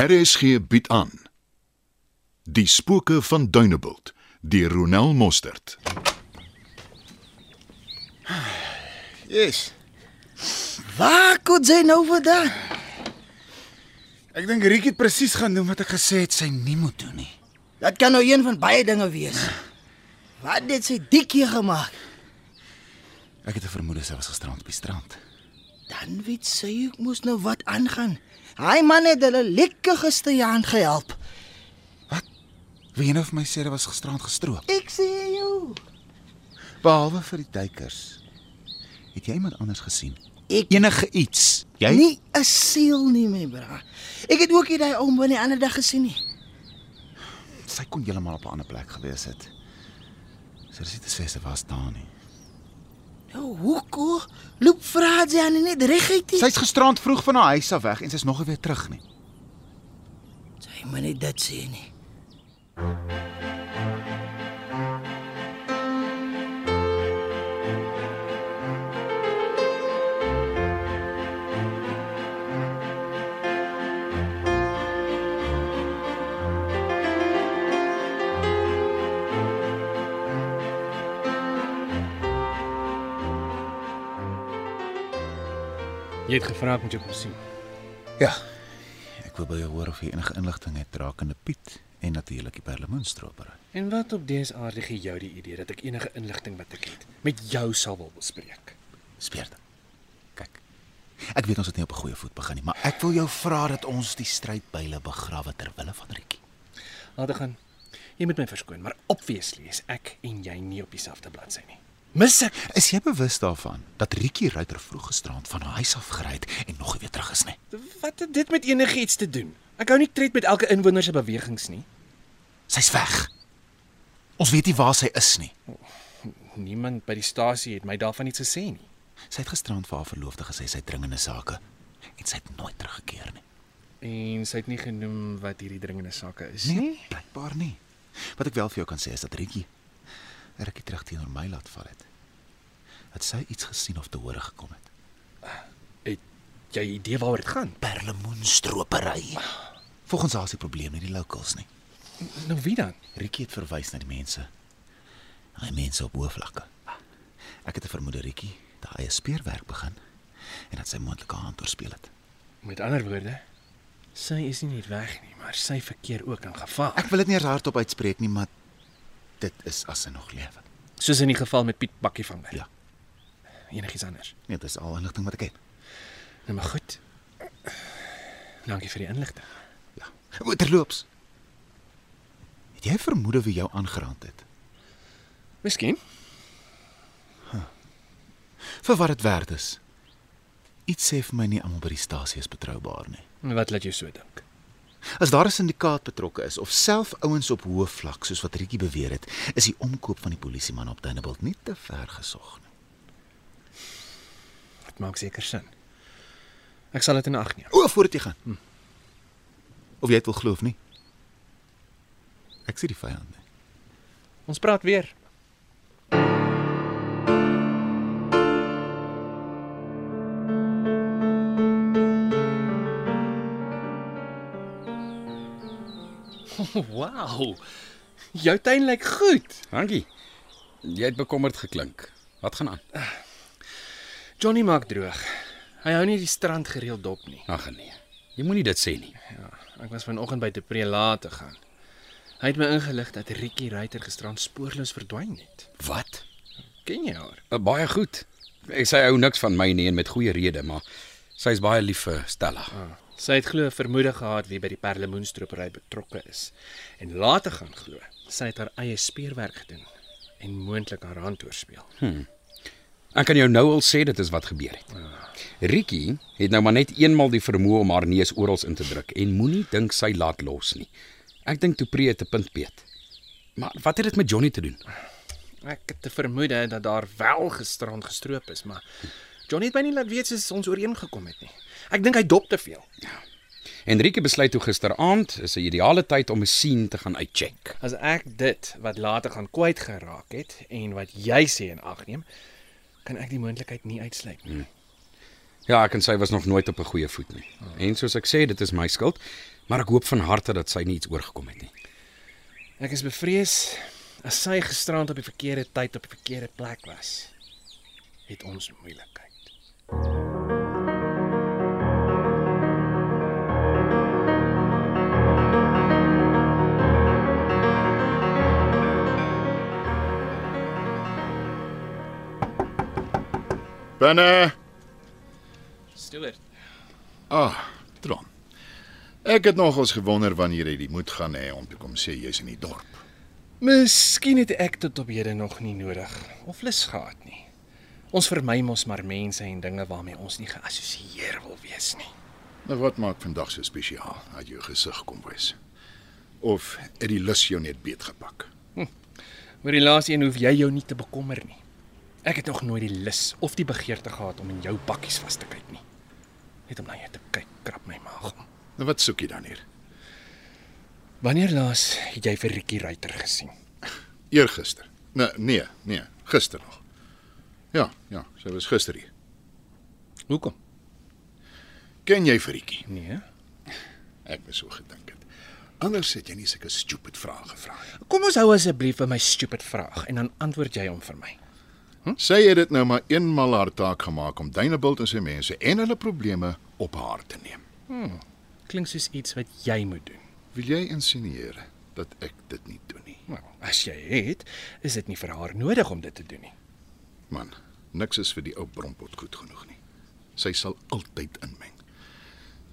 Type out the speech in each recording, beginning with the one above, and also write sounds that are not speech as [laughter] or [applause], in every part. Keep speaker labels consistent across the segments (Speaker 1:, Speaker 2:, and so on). Speaker 1: RSG bied aan Die spooke van Dunebuld deur Ronel Mostert.
Speaker 2: Yes.
Speaker 3: Waar kon sy nou vandaan?
Speaker 2: Ek dink Riek het presies gaan doen wat ek gesê het sy nie moet doen nie.
Speaker 3: Dit kan nou een van baie dinge wees. Wat het sy die keer gemaak?
Speaker 2: Ek het 'n vermoede sy was gisterand op die strand.
Speaker 3: Dan weet sy ek moes nou wat aangaan. Hy man het hulle lekker gisterjaan gehelp.
Speaker 2: Wie een of my sê dit was gisterand gestroop.
Speaker 3: Ek sê jou,
Speaker 2: Behalwe vir die duikers. Het jy iemand anders gesien?
Speaker 3: ek
Speaker 2: Enige iets? Jy
Speaker 3: nie 'n siel nie my bra. Ek het ook nie daai oom binne die ander dag gesien nie.
Speaker 2: sy kon heeltemal op 'n ander plek gewees het. Sy sê dit sê sy was daar nie.
Speaker 3: Nou hoekom loop vra sy aan net reguit? nie?
Speaker 2: Sy's gisterand vroeg van haar huis af weg en sy's nog nie weer terug nie.
Speaker 3: Sy moet nie dit sê nie.
Speaker 4: Jy het gevra ek moet jou kom sien.
Speaker 2: Ja. Ek wil by jou hoor of jy enige inligting het rakende Piet en natuurlik die perlemoenstropery.
Speaker 4: En wat op DSA lig gee jou die idee dat ek enige inligting wat ek het met jou sal wil bespreek?
Speaker 2: Speerde. Kyk. Ek weet ons het nie op 'n goeie voet begin nie, maar ek wil jou vra dat ons die strydbyle begrawe ter wille van Rietjie.
Speaker 4: Laat gaan. Jy moet my verskoon, maar obviously is ek en jy nie op dieselfde bladsy nie. Mis ek?
Speaker 2: Is jy bewus daarvan dat Rietjie ruiter vroeg gisterand van haar huis af gery het en nog nie weer terug is nie?
Speaker 4: Wat het dit met enigiets te doen? Ek hou nie tred met elke inwoner se bewegings nie.
Speaker 2: Sy's weg. Ons weet nie waar sy is nie.
Speaker 4: Niemand by die stasie het my daarvan iets gesê nie.
Speaker 2: Sy het gisterand vir haar verloofde gesê sy het dringende sake en sy het nooit teruggekeer nie.
Speaker 4: En sy het nie genoem wat hierdie dringende sake is
Speaker 2: Nee, blykbaar nie. Wat ek wel vir jou kan sê is dat Rietjie Rietjie terug teenoor my laat val het. Het sy iets gesien of te hore gekom het?
Speaker 4: Het jy idee waaroor dit gaan?
Speaker 2: perlemoenstropery. Volgens haar is die probleem nie die locals nie.
Speaker 4: Nou wie dan?
Speaker 2: Rikkie het verwys na die mense. Daai mense op hoofvlakke. Ek het 'n vermoede Rikkie daai eie speerwerk begin en dat sy moontlike hand oorspeel het.
Speaker 4: Met ander woorde, sy is nie net weg nie, maar sy verkeer ook in gevaar.
Speaker 2: Ek wil dit nie eens hardop uitspreek nie, maar dit is as sy nog lewe.
Speaker 4: Soos in die geval met Piet Bakkie van Wyk.
Speaker 2: Ja.
Speaker 4: Enigiets anders.
Speaker 2: Nee, dit is al inligting wat ek het.
Speaker 4: Nou maar goed. Dankie vir die inligting.
Speaker 2: Ja. O, Terloops. Het jy vermoede wie jou aangeraand het?
Speaker 4: Miskien.
Speaker 2: Vir wat dit werd is. Iets sê vir my nie almal by die stasie is betroubaar nie.
Speaker 4: Wat laat jou so dink?
Speaker 2: As daar 'n sindikaat betrokke is of self ouens op hoë vlak soos wat Rietjie beweer het, is die omkoop van die polisieman op Dunebuld nie te ver gesog nie.
Speaker 4: Dit maak seker sin. Ek sal dit in ag neem.
Speaker 2: O, voordat jy gaan. Hm. Of jy dit wil glo of nie. Ek sien die vyand nie.
Speaker 4: Ons praat weer. [laughs] Wow. Jou tuin lyk goed.
Speaker 5: Dankie. Jy het bekommerd geklink. Wat gaan aan?
Speaker 4: Johnny maak droog. Hy hou nie die strand gereeld dop nie.
Speaker 5: Ag nee. Jy moenie dit sê nie.
Speaker 4: Ja, Ek was vanoggend by Depree laat te gaan. Hy het my ingelig dat Rikkie Ryter gisterand spoorloos verdwyn het.
Speaker 5: Wat?
Speaker 4: Ken jy haar?
Speaker 5: Uh, baie goed. Ek sê hou niks van my nie en met goeie rede, maar sy is baie lief vir Stella.
Speaker 4: Sy het glo vermoede gehad wie by die perlemoenstropery betrokke is en later gaan glo sy het haar eie speurwerk gedoen en moontlik haar hand oorspeel.
Speaker 5: Ek kan jou nou al sê dit is wat gebeur het. Rikki het nou maar net eenmal die vermoë om haar neus oral in te druk en moenie dink sy laat los nie. Ek dink Topree het 'n punt peet. Maar wat het dit met Johnny te doen?
Speaker 4: Ek het te vermoede dat daar wel gisterand gestroop is, maar Johnny het my nie laat weet soos ons ooreengekom het nie. Ek dink hy dop te veel.
Speaker 5: Henrike besluit toe gisteraand is 'n ideale tyd om 'n sien te gaan uitcheck.
Speaker 4: As ek dit wat later gaan kwyt geraak het en wat jy sê in ag neem, kan ek die moontlikheid nie uitsluit nie.
Speaker 5: Ja, ek en sy was nog nooit op 'n goeie voet nie. En soos ek sê, dit is my skuld. maar ek hoop van harte dat sy nie iets oorgekom het nie.
Speaker 4: Ek is bevrees as sy gisterand op die verkeerde tyd op die verkeerde plek was, het ons moeilikheid.
Speaker 1: Binne.
Speaker 4: Stuart,
Speaker 1: Ah, Tron. Ek het nogals gewonder wanneer jy die moed gaan hê om te kom sê jy's in die dorp.
Speaker 4: miskien het ek tot op hede nog nie nodig of lus gehad nie. Ons vermy mos maar mense en dinge waarmee ons nie geassosieer wil wees nie.
Speaker 1: Nou wat maak vandag so spesiaal? Uit jou gesig kom wys. Of het die lus jou net beet gepak?
Speaker 4: Oor die laaste een hoef jy jou nie te bekommer nie. Ek het nog nooit die lus of die begeerte gehad om in jou bakkies vas te kyk nie. Net om na jou te kyk, krap my maag om.
Speaker 1: Nou wat soek jy dan hier?
Speaker 4: Wanneer laas het jy vir Rikkie Ruiter gesien?
Speaker 1: Eergister. Nee, nee, nee, gister nog. Ja, ja, sy was gister hier.
Speaker 4: Hoekom?
Speaker 1: Ken jy Frietjie?
Speaker 4: Nee.
Speaker 1: Ek wou so gedink het. Anders het jy nie sulke stupid vrae gevra nie.
Speaker 4: Kom ons hou asseblief by my stupid vraag en dan antwoord jy hom vir my.
Speaker 1: Sy het dit nou maar eenmal haar taak gemaak om Dynebult en sy mense en hulle probleme op haar te neem.
Speaker 4: Klink soos iets wat jy moet doen.
Speaker 1: Wil jy insinieer dat ek dit nie doen nie?
Speaker 4: Nou, as jy het, is dit nie vir haar nodig om dit te doen nie.
Speaker 1: Man, niks is vir die ou brompot goed genoeg nie. Sy sal altyd inmeng.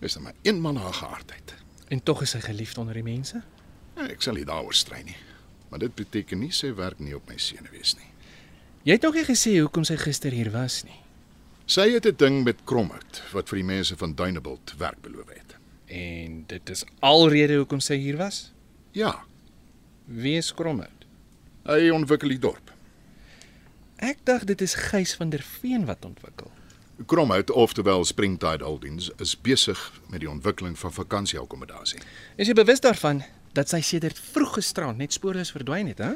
Speaker 1: Dis nou maar een man haar geaardheid. Ja,
Speaker 4: En tog is sy geliefd onder die mense.
Speaker 1: Ek sal nie daaroor strei nie. Maar dit beteken nie sy werk nie op my senuwees nie.
Speaker 4: Jy het nog nie gesê hoekom sy gister hier was nie.
Speaker 1: Sy het 'n ding met Kromhout wat vir die mense van Dunebuld werk beloof het.
Speaker 4: En dit is alrede hoekom sy hier was.
Speaker 1: Ja,
Speaker 4: Wees Kromhout.
Speaker 1: hy ontwikkel die dorp.
Speaker 4: Ek dink dit is Gys van der Veen wat ontwikkel.
Speaker 1: Kromhout, oftewel Springtide Holdings, is besig met die ontwikkeling van vakansieakkommodasie.
Speaker 4: Is jy bewus daarvan dat sy sedert vroeg gisterand net spoorloos verdwyn het, hè?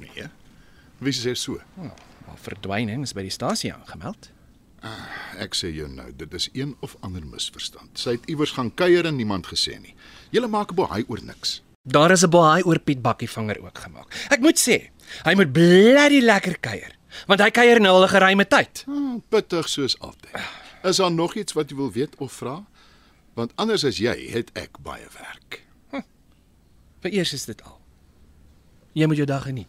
Speaker 1: Nee. Wie sê so?
Speaker 4: Ja, Haar verdwyning is by die stasie aangemeld.
Speaker 1: Ek sê jou nou, dit is een of ander misverstand. Sy het iewers gaan kuier en niemand gesê nie. Julle maak 'n bohaai oor niks.
Speaker 4: Daar is 'n baai oor Piet Bakkievanger ook gemaak. Ek moet sê, hy moet bloody lekker kuier, want hy kuier nou al 'n geruime tyd.
Speaker 1: Hmm, pittig soos altyd. Is daar nog iets wat jy wil weet of vra? Want anders as jy, het ek baie werk.
Speaker 4: Vereers is dit al. Jy moet jou dag geniet.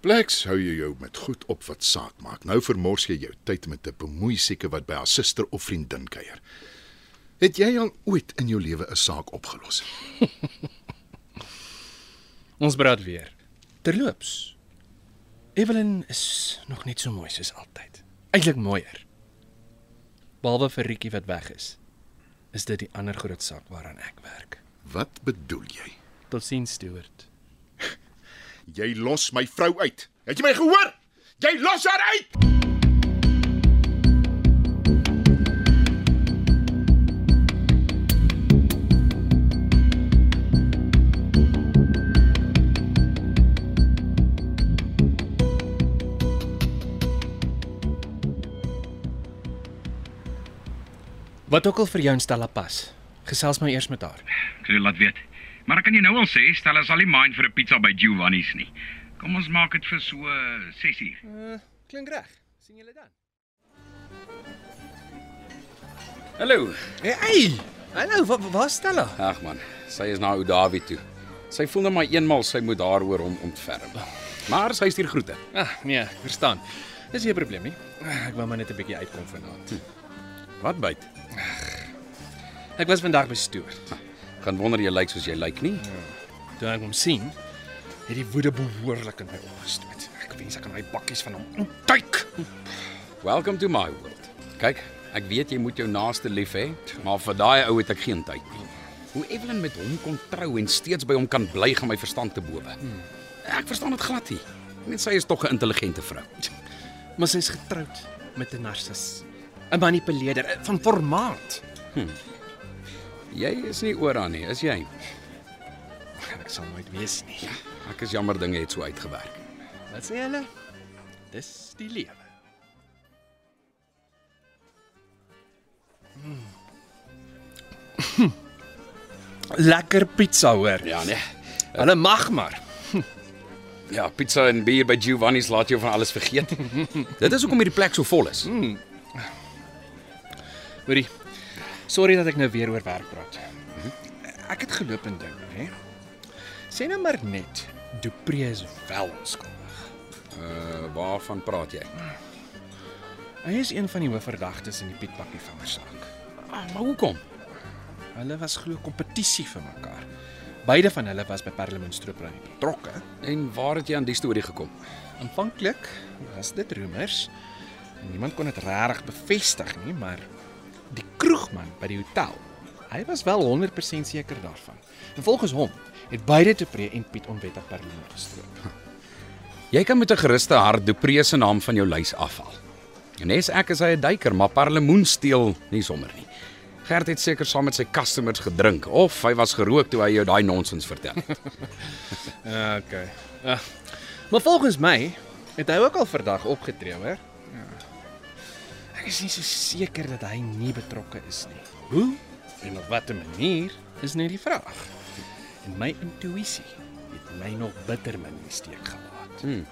Speaker 1: Plex hou jy jou met goed op wat saak maak. Nou vermors jy jou tyd met 'n bemoei seker wat by haar suster of vriendin kuier. Het jy al ooit in jou lewe 'n saak opgelos?
Speaker 4: Ons praat weer. Terloops. Evelyn is nog net so mooi soos altyd. Eintlik mooier. Behalwe vir Rietjie wat weg is. Is dit die ander groot saak waaraan ek werk.
Speaker 1: Wat bedoel jy?
Speaker 4: Totsiens, Stewart.
Speaker 1: Jy los my vrou uit. Het jy my gehoor? Jy los haar uit.
Speaker 4: Wat ook al vir jou instel pas. Gesels my eers met haar.
Speaker 6: Ek sê laat weet. Maar ek kan jou nou al sê, stel as al nie mind vir 'n pizza by Giovanni's nie. Kom ons maak dit vir so 6 uur.
Speaker 4: Eh, Klink reg. sien julle dan.
Speaker 5: Hallo.
Speaker 4: Hey, hallo, wa- wa- waar stel haar?
Speaker 5: Ag man, sy is na ou Dawie toe. Sy voel nou maar eenmal sy moet haar oor hom ontferm. Maar sy stuur groete.
Speaker 4: Ag, nee, ek verstaan. Dis nie 'n probleem nie. Ek wou maar net 'n bietjie uitkom vanaand.
Speaker 5: Wat byt?
Speaker 4: Ek was vandag by Stewart.
Speaker 5: Gaan wonder jy lyk soos jy lyk nie.
Speaker 4: Toe ek hom sien, het die woede behoorlik in my opgestoot. Ek wens ek kan my bakkies van hom ontduik.
Speaker 5: Welcome to my world. Kyk, ek weet jy moet jou naaste lief hê, maar vir daai ou het ek geen tyd nie. Hoe Evelyn met hom kon trou en steeds by hom kan bly gaan my verstand te bowe. Ek verstaan dit glad nie. Net sy is tog 'n intelligente vrou.
Speaker 4: Maar sy is getroud met 'n narsis. 'n Manipuleerder eh, van formaat.
Speaker 5: Jy is nie oor aan nie, is jy?
Speaker 4: Ek sal nooit weet nie.
Speaker 5: Ek is jammer dinge het so uitgewerk.
Speaker 4: Wat sê hulle? Dis die lewe. Hmm. [laughs] Lekker pizza hoor.
Speaker 5: Ja nee.
Speaker 4: Hulle mag maar.
Speaker 5: Ja, pizza en bier by Giovanni's laat jou van alles vergeet. [laughs] Hmm, Dit is hoekom hierdie plek so vol is.
Speaker 4: Hoorie. Sorry dat ek nou weer oor werk praat. Mhm. Ek het geloop en dink, hè. Sê nou maar net, Dupree is wel onskuldig.
Speaker 5: Uh waarvan praat jy?
Speaker 4: Hy is een van die hoofverdagtes in die Piet Bakkie vingersaak.
Speaker 5: Ah, maar hoekom?
Speaker 4: Hulle was glo kompetisie vir mekaar. Beide van hulle was by Parlementstroop aan die betrokke.
Speaker 5: En waar het jy aan die storie gekom?
Speaker 4: Aanvanklik was dit roemers. Niemand kon dit regtig bevestig nie, maar die kroegman by die hotel, hy was wel 100% seker daarvan. En volgens hom het beide Tepree en Piet onwettig Berlyn gestroop.
Speaker 5: Jy kan met 'n geruste hart Dupree se naam van jou lys afhaal. Nes ek is hy 'n duiker, maar parlemoen steel nie sommer nie. Gert het seker saam met sy customers gedrink of hy was gerook toe hy jou daai nonsens vertel het. [laughs]
Speaker 4: Okay. Uh, maar volgens my het hy ook al vandag opgetree, hoor. Ja. Ek is nie so seker dat hy nie betrokke is nie. Hoe en op watter manier is net die vraag. En my intuïsie het my nog bitter min in die steek gelaat. Hmm.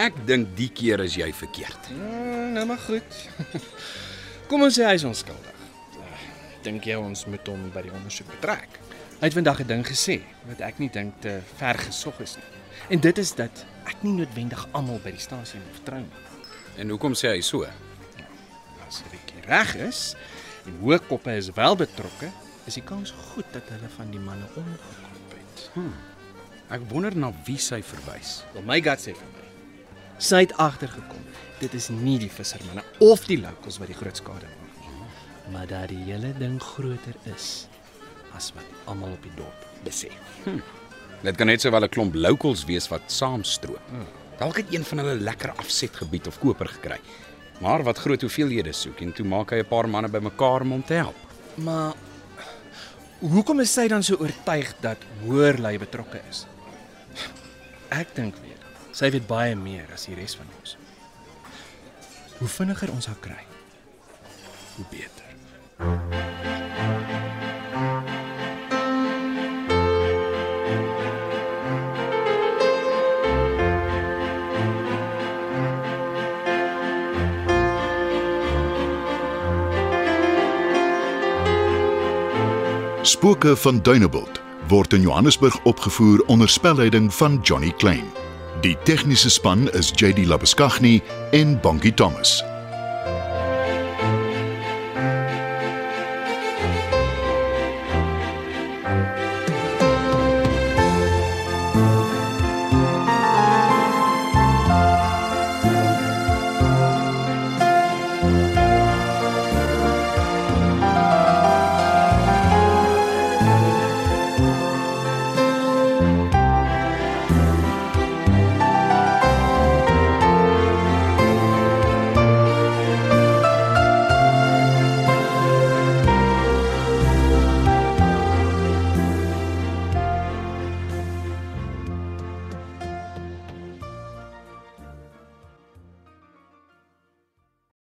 Speaker 5: Ek dink die keer is jy verkeerd.
Speaker 4: nou maar goed. [laughs] Kom ons sê hy is onskuldig. Eh, Dink jy ons moet hom by die ondersoek betrek? Hy het vandag 'n ding gesê wat ek nie dink te ver gesog is nie. En dit is dat ek nie noodwendig almal by die stasie moet vertrou nie.
Speaker 5: En hoekom sê hy so?
Speaker 4: As Rikkie reg is en hoë koppe is wel betrokke, is die kans goed dat hulle van die manne omgekoop het.
Speaker 5: Ek wonder na wie sy verwys.
Speaker 4: Wel my gut sê vir my. Sy het agtergekom. Dit is nie die vissermanne of die locals wat die groot skade maak nie, maar dat die hele ding groter is as wat almal op die dorp besef.
Speaker 5: Dit kan net sowel 'n klomp locals wees wat saamstroop. Dalk het een van hulle lekker afsetgebied of koper gekry. Maar wat groot hoeveelhede soek en toe maak hy 'n paar manne bymekaar om hom te help.
Speaker 4: Maar hoekom is sy dan so oortuig dat hoërlei betrokke is? Ek dink weer. Sy weet baie meer as die res van ons. Hoe vinniger ons haar kry, hoe beter.
Speaker 1: Spooke van Dunebuld word in Johannesburg opgevoer onder spelleiding van Johnny Klein. Die tegniese span is JD Labuskaghni en Bongie Thomas.